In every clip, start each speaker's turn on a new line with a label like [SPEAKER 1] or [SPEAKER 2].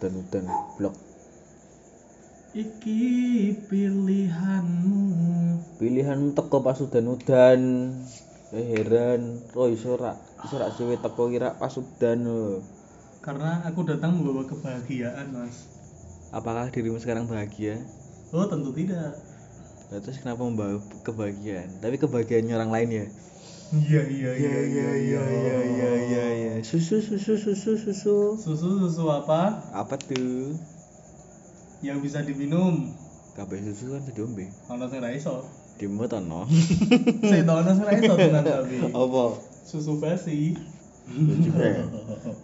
[SPEAKER 1] dan udan blok
[SPEAKER 2] Iki pilihanmu
[SPEAKER 1] pilihan teko pas udan udan eh heran Oh, roy sorak sorak suwe teko kira pas udan lho.
[SPEAKER 2] karena aku datang membawa kebahagiaan mas.
[SPEAKER 1] apakah dirimu sekarang bahagia
[SPEAKER 2] Oh tentu tidak.
[SPEAKER 1] Lah, terus kenapa membawa kebahagiaan tapi kebahagiaannya orang lain ya
[SPEAKER 2] Iya iya iya
[SPEAKER 1] iya iya susu susu susu susu
[SPEAKER 2] Susu susu apa
[SPEAKER 1] apa tuh
[SPEAKER 2] yang bisa diminum?
[SPEAKER 1] kabeh susu kan diombe
[SPEAKER 2] Ono sing ra iso.
[SPEAKER 1] dimu to no
[SPEAKER 2] Saya tau ono sing ra iso tenan tapi.
[SPEAKER 1] apa
[SPEAKER 2] Susu basi.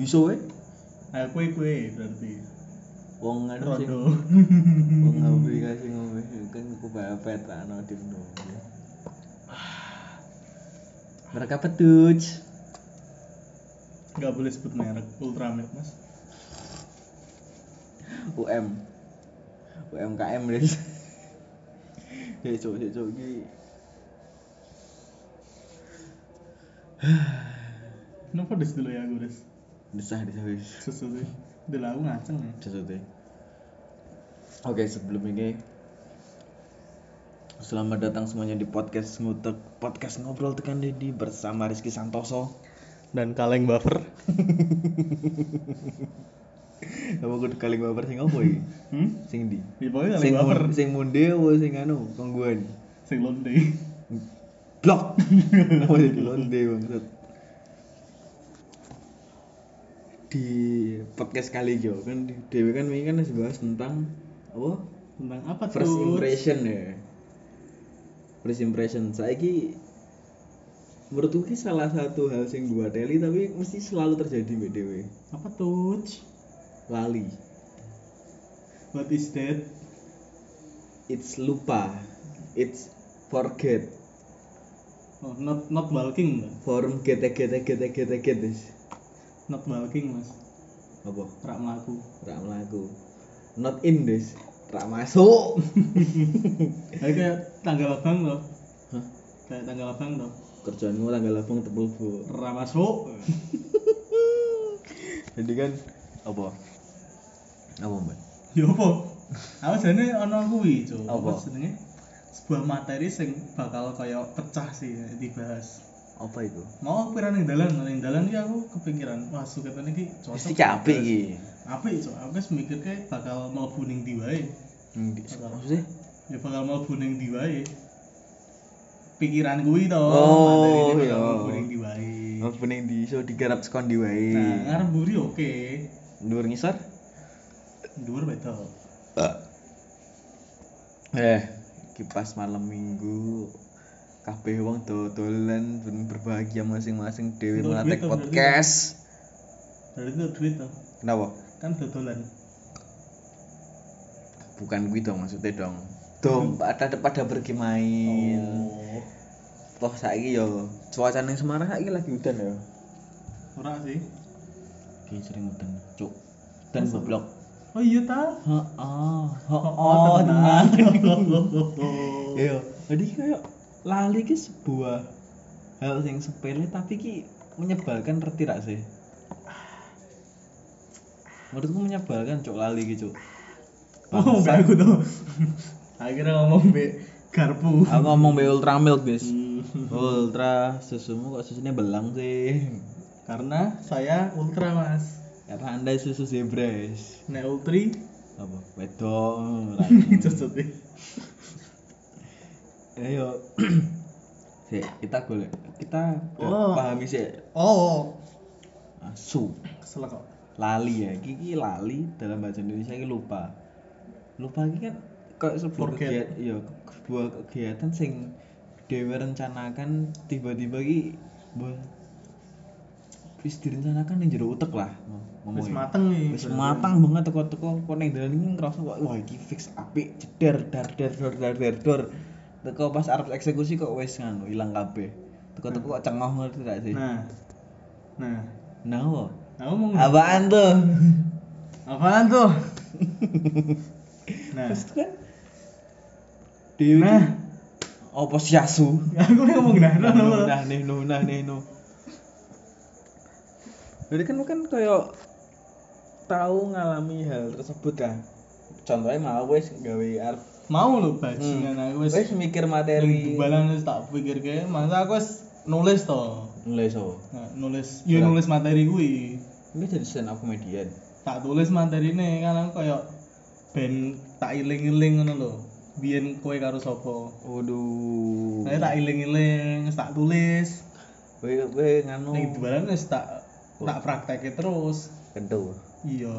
[SPEAKER 1] iso we
[SPEAKER 2] Nah, kue kue berarti.
[SPEAKER 1] wong anu sing
[SPEAKER 2] Rondo.
[SPEAKER 1] wong aplikasi ngombe kan ku bapet ana dino mereka petuj
[SPEAKER 2] Gak boleh sebut merek Ultramilk mas.
[SPEAKER 1] UM UMKM Des Cek cok cek cok iki
[SPEAKER 2] Kenapa des dulu ya aku des?
[SPEAKER 1] desah desah wis
[SPEAKER 2] Susu sih. Dulu aku ngaceng ya.
[SPEAKER 1] Maksudnya. Oke, sebelum ini Selamat datang semuanya di podcast ngutek podcast ngobrol tekan Dedi bersama Rizky Santoso.
[SPEAKER 2] Dan kaleng buffer.
[SPEAKER 1] Apa kudu kali baper sing opo iki?
[SPEAKER 2] Hmm?
[SPEAKER 1] Sing di?
[SPEAKER 2] Ya pokoknya
[SPEAKER 1] Sing
[SPEAKER 2] kaleng buffer.
[SPEAKER 1] mun- sing munde apa sing anu gangguan.
[SPEAKER 2] Sing londe.
[SPEAKER 1] Blok. Apa jadi londe maksud? Di podcast kali iki yo, kan di- Dewi kan ini kan harus bahas tentang apa?
[SPEAKER 2] Tentang apa tuh?
[SPEAKER 1] first impression ya first impression saiki menurutku ki salah satu hal sing gua teli tapi mesti selalu terjadi mbak dewe
[SPEAKER 2] Apa tuh?
[SPEAKER 1] lali
[SPEAKER 2] What is that?
[SPEAKER 1] it's lupa it's forget
[SPEAKER 2] Oh, not not walking mas.
[SPEAKER 1] form gete gete gete gete gete
[SPEAKER 2] Not walking mas.
[SPEAKER 1] apa
[SPEAKER 2] Rak melaku.
[SPEAKER 1] tak melaku not in this tak masuk
[SPEAKER 2] Kayak kayak tanggal abang loh.
[SPEAKER 1] Hah?
[SPEAKER 2] Kayak tanggal abang loh.
[SPEAKER 1] kerjaanmu tanggal labang tebel bu
[SPEAKER 2] Ra masuk.
[SPEAKER 1] jadi kan apa apa mbak
[SPEAKER 2] Ya apa? Aku jane ana kuwi, Cuk.
[SPEAKER 1] Apa?
[SPEAKER 2] jenenge? Sebuah materi sing bakal kaya pecah sih dibahas.
[SPEAKER 1] apa itu
[SPEAKER 2] Mau aku pikiran ning dalan, ning dalan iki aku kepikiran, wah suketan iki cocok.
[SPEAKER 1] mesti capek
[SPEAKER 2] dibahas.
[SPEAKER 1] gitu
[SPEAKER 2] Apik, Cuk. Aku wis mikir kayak bakal mau ning ndi wae.
[SPEAKER 1] Hmm, di-
[SPEAKER 2] Apa?
[SPEAKER 1] maksudnya?
[SPEAKER 2] Ya bakal mau ning ndi wae. Pikiran kuwi to,
[SPEAKER 1] Oh,
[SPEAKER 2] materi iki
[SPEAKER 1] iya.
[SPEAKER 2] bakal mlebu ning ndi wae.
[SPEAKER 1] Apa ning di iso digarap sekon di wae.
[SPEAKER 2] Nah, ngarep mburi oke.
[SPEAKER 1] Dhuwur ngisor?
[SPEAKER 2] Dhuwur betul.
[SPEAKER 1] Eh, kipas malam Minggu. Kabeh wong do dolan ben berbahagia masing-masing dhewe
[SPEAKER 2] Untuk
[SPEAKER 1] melantik
[SPEAKER 2] duit, untuk
[SPEAKER 1] podcast.
[SPEAKER 2] Dari itu duit to.
[SPEAKER 1] Kenapa?
[SPEAKER 2] Kan dodolan.
[SPEAKER 1] Bukan kuwi dong maksudnya dong. Dong pada pada pergi main.
[SPEAKER 2] Oh.
[SPEAKER 1] Toh saiki yo cuaca ning Semarang saiki lagi udan ya.
[SPEAKER 2] Ora sih.
[SPEAKER 1] Ki Iya, sering udan, cuk. Dan goblok.
[SPEAKER 2] Oh iya ta?
[SPEAKER 1] Heeh.
[SPEAKER 2] Oh, tenan.
[SPEAKER 1] Iya, jadi kayak lali ki sebuah hal yang sepele tapi ki menyebalkan ngerti rak sih. Menurutku menyebalkan cok lali ki cok.
[SPEAKER 2] Oh,
[SPEAKER 1] Bangsa.
[SPEAKER 2] aku tuh. Akhirnya ngomong be garpu.
[SPEAKER 1] Aku ngomong be ultra milk guys.
[SPEAKER 2] Hmm,
[SPEAKER 1] Ultra susumu kok susunya belang sih.
[SPEAKER 2] Karena saya ultra mas.
[SPEAKER 1] Karena anda susu zebra guys.
[SPEAKER 2] Nek ultri,
[SPEAKER 1] Apa? Wedok. gitu. rak.
[SPEAKER 2] cocok deh.
[SPEAKER 1] Ayo. Eh, Sik, kita golek. Kita
[SPEAKER 2] Oh.
[SPEAKER 1] pahami sih.
[SPEAKER 2] Oh,
[SPEAKER 1] Asu.
[SPEAKER 2] kesel kok.
[SPEAKER 1] lali ya kiki lali dalam bahasa Indonesia ini lupa lupa ini kan kayak sebuah
[SPEAKER 2] Forget.
[SPEAKER 1] kegiatan ya sebuah kegiatan sing dewe rencanakan tiba-tiba ki buat wis direncanakan yang jero utek lah
[SPEAKER 2] Wis
[SPEAKER 1] ngomongnya.
[SPEAKER 2] mateng nih.
[SPEAKER 1] wis matang banget teko-teko kok ning dalan iki ngerasa kok wah iki fix apik jeder dar dar dar dar dar dar teko pas arep eksekusi kok wis nganu ilang kabeh teko-teko kok cengoh ngerti gak sih nah,
[SPEAKER 2] Hmm. Nah, nah,
[SPEAKER 1] nah
[SPEAKER 2] aku mau ngomong.
[SPEAKER 1] apaan tuh
[SPEAKER 2] Apaan tuh? Nah,
[SPEAKER 1] Terus kan Dewi
[SPEAKER 2] Nah.
[SPEAKER 1] nah. Apa siasu?
[SPEAKER 2] aku mau ngomong nah, nah, nah, nah.
[SPEAKER 1] Nah nih no nah nih no. Jadi kan kan kayak tahu ngalami hal tersebut kan contohnya mau wes gawe arep
[SPEAKER 2] mau lo bajingan
[SPEAKER 1] Hmm.
[SPEAKER 2] aku wis
[SPEAKER 1] wes mikir materi
[SPEAKER 2] balan wis tak pikir kayak masa aku wis nulis toh
[SPEAKER 1] mulai so
[SPEAKER 2] Nah, nulis ya
[SPEAKER 1] Lah.
[SPEAKER 2] nulis materi gue
[SPEAKER 1] ini jadi stand up comedian
[SPEAKER 2] tak tulis materi ini kan aku kayak ben tak iling-iling ngono lho biyen kowe karo sapa
[SPEAKER 1] waduh
[SPEAKER 2] saya Nah, tak iling-iling wis tak tulis
[SPEAKER 1] we we nganu
[SPEAKER 2] ning dalan wis tak tak praktekke terus
[SPEAKER 1] kendo
[SPEAKER 2] iya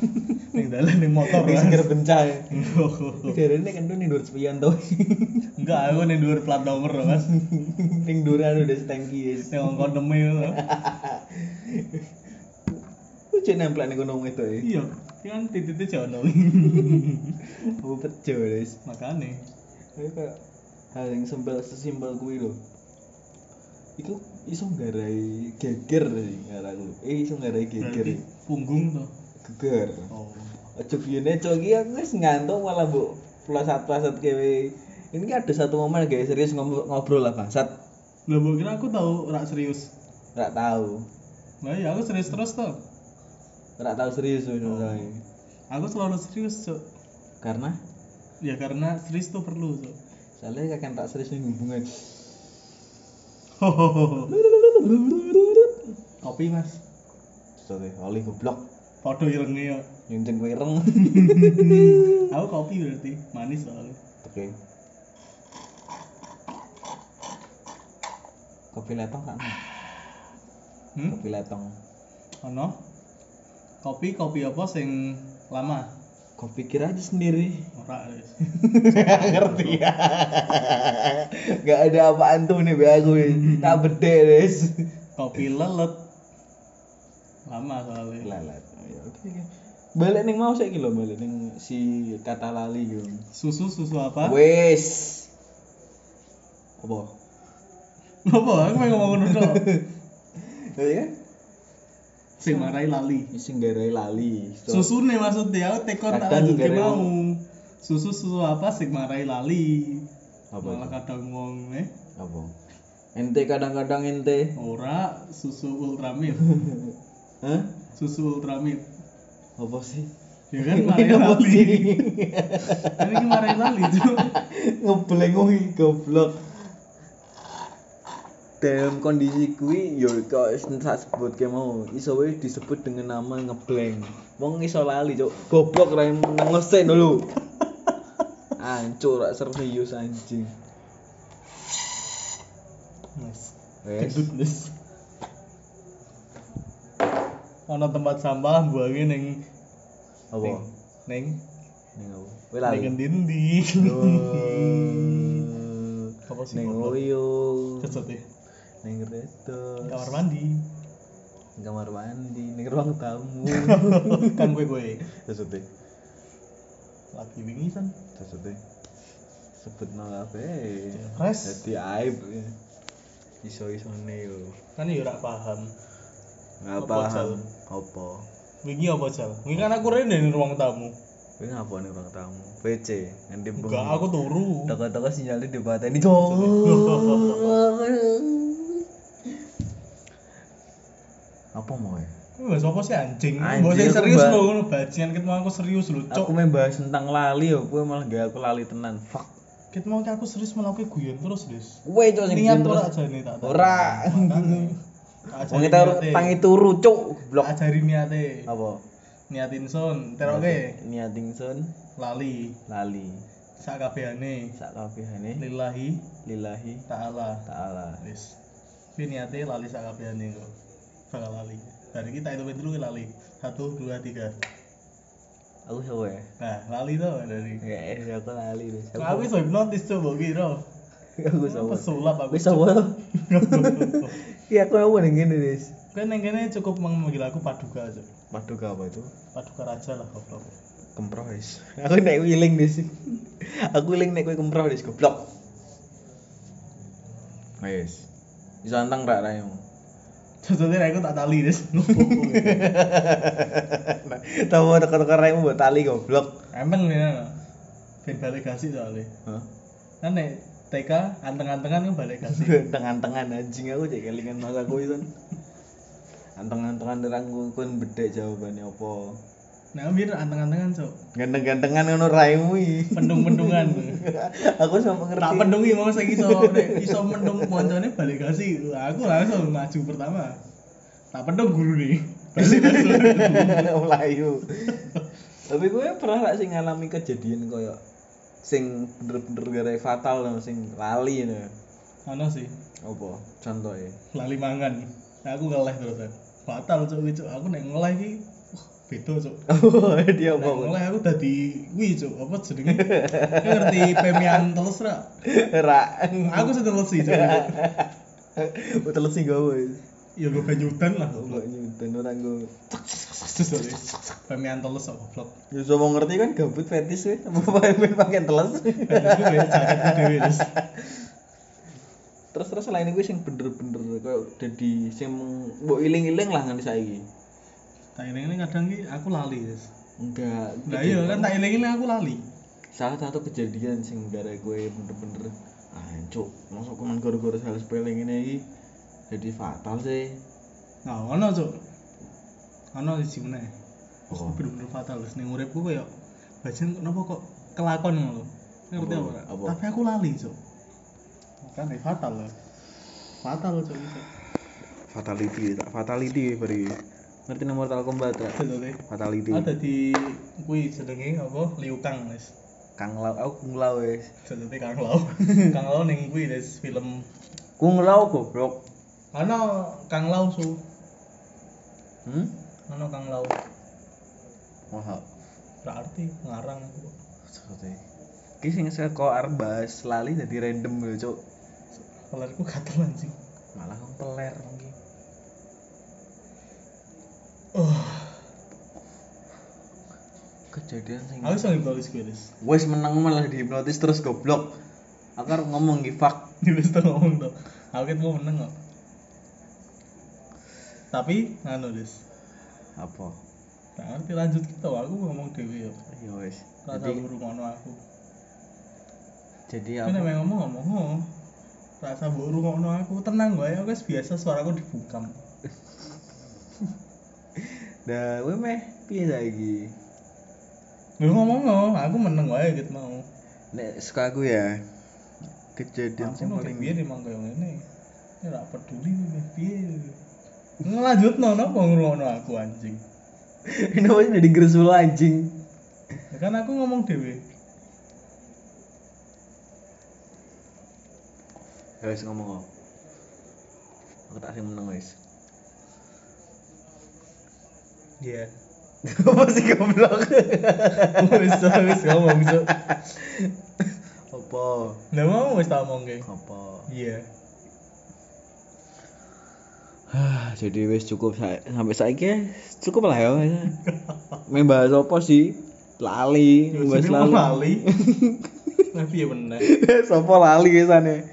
[SPEAKER 2] ning dalan ning motor
[SPEAKER 1] ini
[SPEAKER 2] kan.
[SPEAKER 1] segera bencah ya
[SPEAKER 2] Enggak,
[SPEAKER 1] Dari ini kendo nih dur sepian tuh
[SPEAKER 2] enggak aku ning dhuwur plat nomor lho Mas
[SPEAKER 1] Ning duran udah setengki ya
[SPEAKER 2] sing ngongkon nemu itu.
[SPEAKER 1] Lu cek nempel nih gunung itu ya
[SPEAKER 2] iya kan titik-titik jono
[SPEAKER 1] Aku pecah guys
[SPEAKER 2] makane
[SPEAKER 1] Tapi kayak hal yang sembel sesimpel kuwi lho. Iku iso nggarai geger ngaraku. Eh iso nggarai
[SPEAKER 2] berarti
[SPEAKER 1] geger.
[SPEAKER 2] punggung tuh
[SPEAKER 1] Geger.
[SPEAKER 2] oh
[SPEAKER 1] Ojo giyene cok iki aku wis ngantuk malah mbok plasat-plasat kewe. Ini kan ada satu momen guys serius ngom- ngobrol lah bangsat.
[SPEAKER 2] lho mbok kira aku tau rak serius
[SPEAKER 1] Enggak tahu.
[SPEAKER 2] Nah, ya aku serius terus tuh.
[SPEAKER 1] Enggak tahu serius oh.
[SPEAKER 2] Aku selalu serius, Cuk.
[SPEAKER 1] Karena
[SPEAKER 2] Ya karena serius tuh perlu, Cuk.
[SPEAKER 1] soalnya kakek tak serius ning hubungan.
[SPEAKER 2] Kopi, Mas.
[SPEAKER 1] Soalnya oli goblok
[SPEAKER 2] Podo irenge ya.
[SPEAKER 1] nyenceng kowe ireng.
[SPEAKER 2] Aku kopi berarti, manis soalnya.
[SPEAKER 1] Oke. Kopi letong kan?
[SPEAKER 2] Hmm?
[SPEAKER 1] Kopi letong.
[SPEAKER 2] Ono? Kopi kopi apa sing lama?
[SPEAKER 1] Kopi kira aja sendiri.
[SPEAKER 2] Ora wis.
[SPEAKER 1] Ngerti ya. Gak ada apaan tuh nih be aku wis. Tak bede wis.
[SPEAKER 2] Kopi lelet. Lama soalnya.
[SPEAKER 1] Lalat. Ya, Oke oke. Balik ning mau saiki lho balik ning si kata lali gitu.
[SPEAKER 2] Susu susu apa?
[SPEAKER 1] Wis. Apa?
[SPEAKER 2] Apa? Aku pengen ngomong ngono tok. Iya?
[SPEAKER 1] Ya kan?
[SPEAKER 2] Sing marai lali.
[SPEAKER 1] Sing garai lali. So-
[SPEAKER 2] Susune maksudnya aku tekon tak
[SPEAKER 1] Kadang
[SPEAKER 2] lanjutke
[SPEAKER 1] gara-
[SPEAKER 2] mau. Susu susu apa sing marai lali?
[SPEAKER 1] Apa
[SPEAKER 2] Malah
[SPEAKER 1] itu?
[SPEAKER 2] kadang ngomong eh
[SPEAKER 1] Apa? Ente kadang-kadang ente.
[SPEAKER 2] ora susu ultramil
[SPEAKER 1] Hah?
[SPEAKER 2] susu ultramil
[SPEAKER 1] Apa sih?
[SPEAKER 2] ya kan
[SPEAKER 1] Ini
[SPEAKER 2] Maria
[SPEAKER 1] apa
[SPEAKER 2] Lali
[SPEAKER 1] sih?
[SPEAKER 2] kan ini Maria Lali tuh
[SPEAKER 1] Ngeblenguhi goblok. Dalam kondisi kui yo kok tak sebut ke mau iso wae disebut dengan nama ngebleng. Wong iso lali cok. Goblok ra nengosen dulu. Ancur rak serius anjing.
[SPEAKER 2] mas
[SPEAKER 1] Wes.
[SPEAKER 2] gendut mas ono tempat sampah buangin neng
[SPEAKER 1] Apa?
[SPEAKER 2] neng
[SPEAKER 1] Ning apa? Kowe lali.
[SPEAKER 2] neng
[SPEAKER 1] Eh,
[SPEAKER 2] ngendi
[SPEAKER 1] Oh.
[SPEAKER 2] apa sih
[SPEAKER 1] Ning
[SPEAKER 2] goblok?
[SPEAKER 1] oyo.
[SPEAKER 2] Keset ya
[SPEAKER 1] Ning redos.
[SPEAKER 2] kamar mandi
[SPEAKER 1] Kamar mandi, ning ruang tamu.
[SPEAKER 2] kan gue gue
[SPEAKER 1] Kesete.
[SPEAKER 2] lagi wingisan
[SPEAKER 1] maksudnya sebut no kafe
[SPEAKER 2] res
[SPEAKER 1] jadi aib iso iso yo
[SPEAKER 2] kan ya ora paham
[SPEAKER 1] nggak
[SPEAKER 2] Apa, Jal?
[SPEAKER 1] paham apa
[SPEAKER 2] wingi apa jal wingi kan aku rene ning ruang tamu
[SPEAKER 1] kowe ngapa nih orang tamu PC nanti
[SPEAKER 2] enggak aku turu
[SPEAKER 1] toko-toko sinyalnya dibateni cok apa mau ya
[SPEAKER 2] Wah, sopo sih anjing?
[SPEAKER 1] Anjing,
[SPEAKER 2] Mbok sing
[SPEAKER 1] aku
[SPEAKER 2] serius
[SPEAKER 1] mbak-
[SPEAKER 2] lho ngono bajingan ket mau aku serius lho,
[SPEAKER 1] aku
[SPEAKER 2] cok.
[SPEAKER 1] main bahas tentang lali yo kowe malah gak aku lali tenan fuck
[SPEAKER 2] Ket mau aku serius malah aku guyon terus, Des.
[SPEAKER 1] kowe cok sing
[SPEAKER 2] Niat
[SPEAKER 1] terus.
[SPEAKER 2] ora ajane tak. tak-
[SPEAKER 1] Ora.
[SPEAKER 2] Makane.
[SPEAKER 1] wong kita tangi turu cok blok Oh.
[SPEAKER 2] Ajari niate.
[SPEAKER 1] apa
[SPEAKER 2] Niatin son, teroke
[SPEAKER 1] niating sun
[SPEAKER 2] lali
[SPEAKER 1] lali
[SPEAKER 2] sak kabehane
[SPEAKER 1] sak kabehane
[SPEAKER 2] lillahi
[SPEAKER 1] lillahi
[SPEAKER 2] taala.
[SPEAKER 1] taala
[SPEAKER 2] Wis. Kuwi niate lali sak kabehane kok. Bakal lali. Dari kita itu dulu lali. Satu, dua, tiga.
[SPEAKER 1] aku siapa ya
[SPEAKER 2] Nah, lali tuh dari.
[SPEAKER 1] ya eh, aku lali deh
[SPEAKER 2] Nah, aku iso hipnotis coba
[SPEAKER 1] aku
[SPEAKER 2] kira. Aku
[SPEAKER 1] siapa
[SPEAKER 2] sulap
[SPEAKER 1] aku
[SPEAKER 2] aku.
[SPEAKER 1] siapa iya aku apa nih gini deh
[SPEAKER 2] Kan yang kene cukup memanggil aku Paduka aja.
[SPEAKER 1] paduka apa itu
[SPEAKER 2] Paduka raja lah goblok.
[SPEAKER 1] kemproh guys aku naik wiling deh sih aku wiling naik kue kemproh deh goblok guys bisa antang rak rayu
[SPEAKER 2] Contohnya aku tak tali des.
[SPEAKER 1] tahu ada kata rayu buat tali goblok
[SPEAKER 2] Emang ya. Ben balik gasi soalnya. Kan nek TK anteng-antengan kan balik gasi.
[SPEAKER 1] tengan-tengan anjing aku cek kelingan masa aku itu anteng-antengan terang kon bedek jawabannya apa
[SPEAKER 2] Nah, mir anteng-antengan, Cuk.
[SPEAKER 1] Ganteng-gantengan ngono raimu iki.
[SPEAKER 2] Pendung-pendungan.
[SPEAKER 1] Aku sama
[SPEAKER 2] tak
[SPEAKER 1] ngerti.
[SPEAKER 2] pendungi mau saya iso nek iso mendung moncone balik kasih. Aku langsung maju pertama. Tak pendung guru nih. Balik langsung.
[SPEAKER 1] Melayu. Tapi gue pernah gak sih ngalami kejadian koyo sing bener-bener gara fatal no, sing lali no.
[SPEAKER 2] Ono sih,
[SPEAKER 1] Apa? Contoh ya.
[SPEAKER 2] lali mangan. Nah, aku ngeleh terus. ya. Fatal, Cuk, iki, Cuk. Aku nek ngeleh iki wah, beda, Cuk.
[SPEAKER 1] Oh, dia
[SPEAKER 2] Nek
[SPEAKER 1] apa?
[SPEAKER 2] ngeleh aku dadi kuwi, Cuk. Apa jenenge? Kau ngerti pemian telus ra?
[SPEAKER 1] Rak.
[SPEAKER 2] Aku setelus sih, Cuk.
[SPEAKER 1] Betul sih gue.
[SPEAKER 2] Ya gue penyudan lah.
[SPEAKER 1] Kok nyudan orang gue.
[SPEAKER 2] Pemian telus kok goblok.
[SPEAKER 1] Ya sama ngerti kan gabut fetis weh. Apa pengen pakai teles.
[SPEAKER 2] Aku kayak jaketku dhewe terus.
[SPEAKER 1] terus terus selain gue sing bener-bener koyo jadi sing mbok iling-iling lah nganti saiki.
[SPEAKER 2] Tak iling-iling kadang ki aku lali, Terus.
[SPEAKER 1] Enggak.
[SPEAKER 2] Lah iya kan tak iling-iling aku lali.
[SPEAKER 1] salah satu kejadian sing gara gue bener-bener "Ah, ancuk masuk kuman gara-gara sales peling ini iki jadi fatal sih
[SPEAKER 2] Nah, ono, Cuk. Ono siji meneh.
[SPEAKER 1] oh.
[SPEAKER 2] bener-bener fatal terus ning uripku koyo bajen kenapa kok kelakon ngono lho. ngerti
[SPEAKER 1] Apa?
[SPEAKER 2] apa, ora?
[SPEAKER 1] Apa?
[SPEAKER 2] tapi aku lali cok kan fatal lho fatal cok iso
[SPEAKER 1] fatality tak fatality beri ngerti nomor telkom batra
[SPEAKER 2] Betul, eh.
[SPEAKER 1] fatality
[SPEAKER 2] ada di kuwi jenenge apa Liu Kang wis
[SPEAKER 1] kang lau aku kung lau wes
[SPEAKER 2] jenenge Kang Lao Kang Lao ning kuwi wis film
[SPEAKER 1] kung lau goblok
[SPEAKER 2] ana Kang Lao su
[SPEAKER 1] hmm
[SPEAKER 2] ana Kang Lao
[SPEAKER 1] wah
[SPEAKER 2] berarti ngarang aku kok.
[SPEAKER 1] seperti ki sing seko arep bahas lali jadi random lho cuk
[SPEAKER 2] kelarku gatel anjing
[SPEAKER 1] malah kong peler mungkin
[SPEAKER 2] oh
[SPEAKER 1] kejadian sing
[SPEAKER 2] aku iso ngipnotis kuwi wis
[SPEAKER 1] wes menang malah dihipnotis terus goblok aku arep ngomong ki fuck
[SPEAKER 2] Jelas tuh ngomong tuh. Aku kan gue menang kok. Tapi nganu des.
[SPEAKER 1] apa
[SPEAKER 2] Tak ngerti lanjut kita. Aku ngomong dewi ya.
[SPEAKER 1] ya wes
[SPEAKER 2] Rasa
[SPEAKER 1] jadi
[SPEAKER 2] buru ngono aku.
[SPEAKER 1] jadi
[SPEAKER 2] Tapi
[SPEAKER 1] apa
[SPEAKER 2] namanya ngomong ngomong oh. Rasa buru ngono aku tenang gue. Aku wis biasa suaraku dibungkam.
[SPEAKER 1] dah gue meh piye lagi
[SPEAKER 2] Lu ngomong ngomong. Aku menang gue gitu mau.
[SPEAKER 1] nek suka aku ya kejadian
[SPEAKER 2] Aku
[SPEAKER 1] sing
[SPEAKER 2] mau
[SPEAKER 1] paling
[SPEAKER 2] dewi di mangga yang ini. Ini rak peduli dewi. Ngelanjut nono ngurungono aku anjing.
[SPEAKER 1] ini wes jadi gresul anjing
[SPEAKER 2] Ya kan aku ngomong dewi.
[SPEAKER 1] ya wes ngomong kok aku tak sing menang wes
[SPEAKER 2] Iya.
[SPEAKER 1] apa sih goblok
[SPEAKER 2] Wis wis ngomong Cuk.
[SPEAKER 1] apa
[SPEAKER 2] Lah mau wis tak omongke.
[SPEAKER 1] apa
[SPEAKER 2] Iya.
[SPEAKER 1] Hah, Ah, jadi wes cukup sa- sampai saiki ya. cukup lah ya main bahas apa sih lali bahas lali
[SPEAKER 2] Tapi ya bener.
[SPEAKER 1] Sopo lali kesane.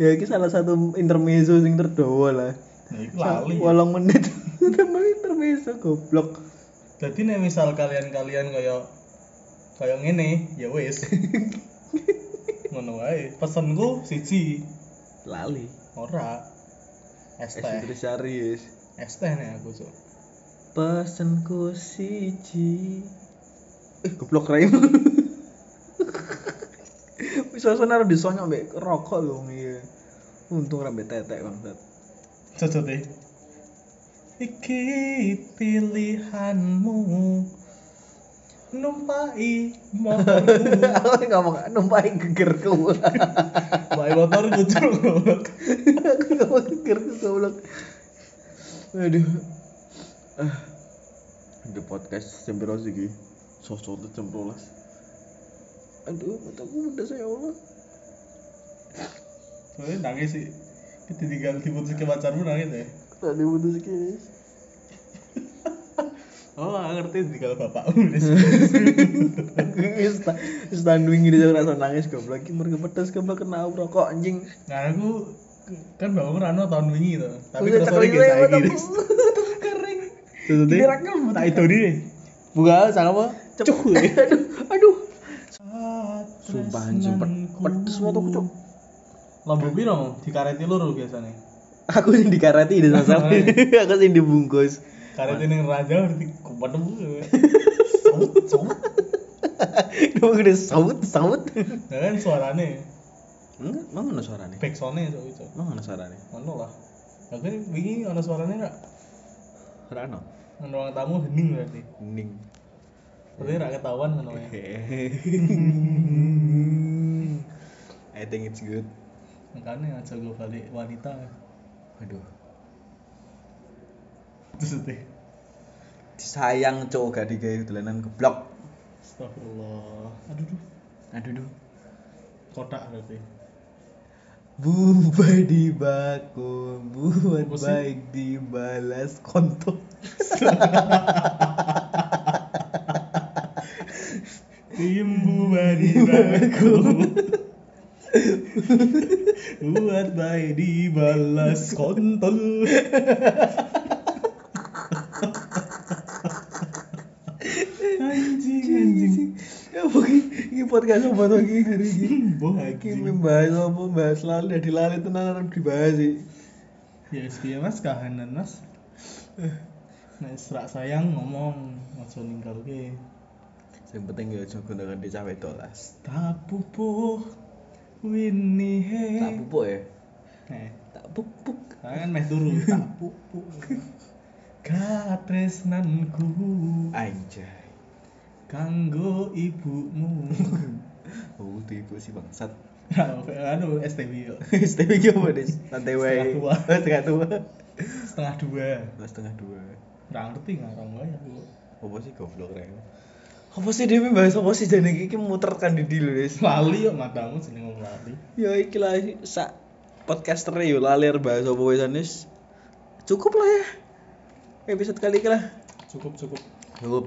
[SPEAKER 1] Ya iki salah satu intermezzo sing terdawa lah.
[SPEAKER 2] Nah, iku lali.
[SPEAKER 1] Wolong menit. Temen intermezzo goblok.
[SPEAKER 2] Jadi nih misal kalian-kalian kayak kayak ngene, ya wis. Ngono wae. Pesenku siji,
[SPEAKER 1] Lali.
[SPEAKER 2] ora es
[SPEAKER 1] Es
[SPEAKER 2] teh.
[SPEAKER 1] Indrisari yes.
[SPEAKER 2] Es teh nih aku, Cuk.
[SPEAKER 1] Pesenku siji. Eh goblok rai. Wis suasana harus disonyok mbek rokok lho iya. Untung rambe tetek bangsat.
[SPEAKER 2] Cocok deh. Iki pilihanmu numpai motorku
[SPEAKER 1] Aku ngomong numpai gegerku.
[SPEAKER 2] numpai motorku Cuk.
[SPEAKER 1] aku gak mau geger ke goblok aduh ah di podcast jam berapa sih ki sosok jam rolas aduh mataku udah saya allah
[SPEAKER 2] Soalnya nangis sih. Ketika diputus ke pacarmu nangis ya.
[SPEAKER 1] tadi butuh sekali
[SPEAKER 2] Oh, aku ngerti ditinggal bapakmu. Des.
[SPEAKER 1] standing ini saya rasa nangis goblok ini mereka pedes goblok kena aku rokok anjing
[SPEAKER 2] nah, aku kan bapakmu rano tahun wingi tuh. Tapi
[SPEAKER 1] Udah
[SPEAKER 2] terus sore
[SPEAKER 1] ceklik,
[SPEAKER 2] kita lagi.
[SPEAKER 1] mataku. Mataku kering
[SPEAKER 2] Jadi
[SPEAKER 1] Giliran kan mataku.
[SPEAKER 2] tak itu nih. Buka salah apa?
[SPEAKER 1] Cep- aduh aduh sumpah
[SPEAKER 2] Sumpah
[SPEAKER 1] anjing ped- pedes mau cok
[SPEAKER 2] Lambu piro dikareti loro biasanya.
[SPEAKER 1] aku yang dikareti di sama aku yang dibungkus
[SPEAKER 2] Karena itu yang raja berarti kupat bu.
[SPEAKER 3] Kamu udah saut saut.
[SPEAKER 2] Nah kan suarane,
[SPEAKER 1] Enggak, mau ngono suarane.
[SPEAKER 2] backsoundnya itu itu.
[SPEAKER 1] Mau ngono suarane.
[SPEAKER 2] Mana lah. Nah kan begini ada suaranya nggak?
[SPEAKER 1] Ora ono.
[SPEAKER 2] Nang ruang tamu hening berarti.
[SPEAKER 1] Ning.
[SPEAKER 2] Berarti nggak ketahuan kan namanya.
[SPEAKER 1] I think it's good.
[SPEAKER 2] Makanya aja gue balik wanita.
[SPEAKER 1] Aduh.
[SPEAKER 2] Terus itu.
[SPEAKER 1] Sayang cowok gak digawe
[SPEAKER 3] gitu,
[SPEAKER 1] dolanan geblok.
[SPEAKER 2] Astagfirullah. Aduh duh.
[SPEAKER 1] Aduh duh.
[SPEAKER 2] Kotak berarti.
[SPEAKER 3] Bubai di baku, buat
[SPEAKER 2] Apa sih?
[SPEAKER 3] baik dibalas konto.
[SPEAKER 2] Imbu badi baku Buat baik dibalas kontol Anjing anjing
[SPEAKER 3] Ya mungkin ini podcast apa tuh ini hari ini.
[SPEAKER 2] Imbu
[SPEAKER 3] Ini
[SPEAKER 2] anjing
[SPEAKER 3] membahas apa membahas lalu dari lalu tenang harus dibahas sih.
[SPEAKER 2] Ya sekian mas kahanan mas Eh, Nek serak sayang ngomong Ojo ninggal ke
[SPEAKER 1] Sing penting ya aja gunakan di cah wedok lah.
[SPEAKER 2] Tak pupuh Winnie
[SPEAKER 3] Hmm.
[SPEAKER 1] Tak
[SPEAKER 2] he
[SPEAKER 1] pupuk ya.
[SPEAKER 2] Eh
[SPEAKER 1] Tak pupuk.
[SPEAKER 2] Tangan meh turu tak pupuk. Katresnanku
[SPEAKER 1] Anjay.
[SPEAKER 2] kanggo ibumu.
[SPEAKER 1] Oh, tipu si bangsat.
[SPEAKER 2] anu STB yo.
[SPEAKER 1] STB ki apa, Des? Santai wae.
[SPEAKER 2] Setengah tua.
[SPEAKER 1] Oh, Setengah tua.
[SPEAKER 2] Setengah dua.
[SPEAKER 1] Lah, Setengah dua.
[SPEAKER 2] Nggak ya, ngerti ngarang wae aku.
[SPEAKER 1] Apa sih goblok rek?
[SPEAKER 3] Apa sih dia membahas apa sih jadi ini muterkan di dulu guys.
[SPEAKER 2] Lali yo matamu jeneng wong lali.
[SPEAKER 1] Ya iki lah sak podcaster yo lalir bahasa apa wesan wis. Cukup lah ya. Episode kali ini lah.
[SPEAKER 2] Cukup cukup.
[SPEAKER 1] Cukup.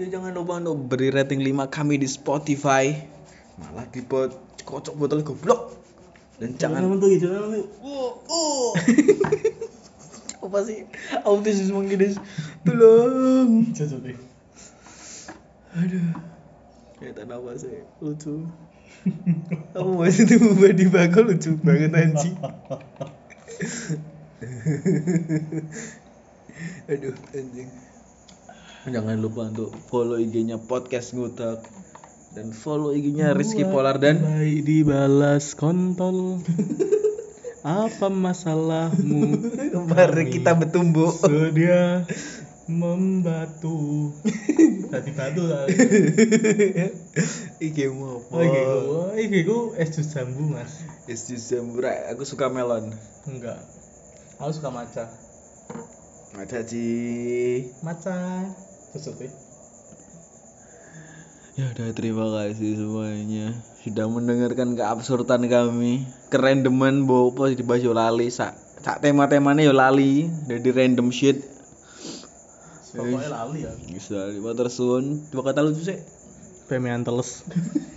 [SPEAKER 1] Ya jangan lupa untuk beri rating 5 kami di Spotify. Malah di pot kocok botol goblok. Dan jangan
[SPEAKER 2] mentu gitu. Oh oh.
[SPEAKER 1] apa sih autis mungkin Des. Tolong.
[SPEAKER 2] Cukup deh.
[SPEAKER 1] Ya tak apa sih lucu.
[SPEAKER 3] Apa bahas itu bubai di baku lucu banget anjing.
[SPEAKER 1] Aduh anjing. Jangan lupa untuk follow IG-nya podcast ngutak dan follow IG-nya Rizky Polar dan
[SPEAKER 2] Baik dibalas kontol. Apa masalahmu?
[SPEAKER 3] Mari kita bertumbuh.
[SPEAKER 2] Sedia membatu. Tadi batu lah.
[SPEAKER 1] IG mu apa?
[SPEAKER 2] Oke, gua iki ku es jus jambu, Mas.
[SPEAKER 1] It's just um, right. Aku suka melon.
[SPEAKER 2] Enggak. Aku suka maca.
[SPEAKER 1] Ada sih.
[SPEAKER 2] Maca. eh. Sesuatu.
[SPEAKER 1] Ya udah terima kasih semuanya sudah mendengarkan keabsurdan kami. Keren demen bopo dibahas yo lali sak sak tema-temanya yo lali dari random shit.
[SPEAKER 2] Pokoknya lali ya.
[SPEAKER 1] Bisa lima tersun. Dua kata lucu sih.
[SPEAKER 2] Pemean teles.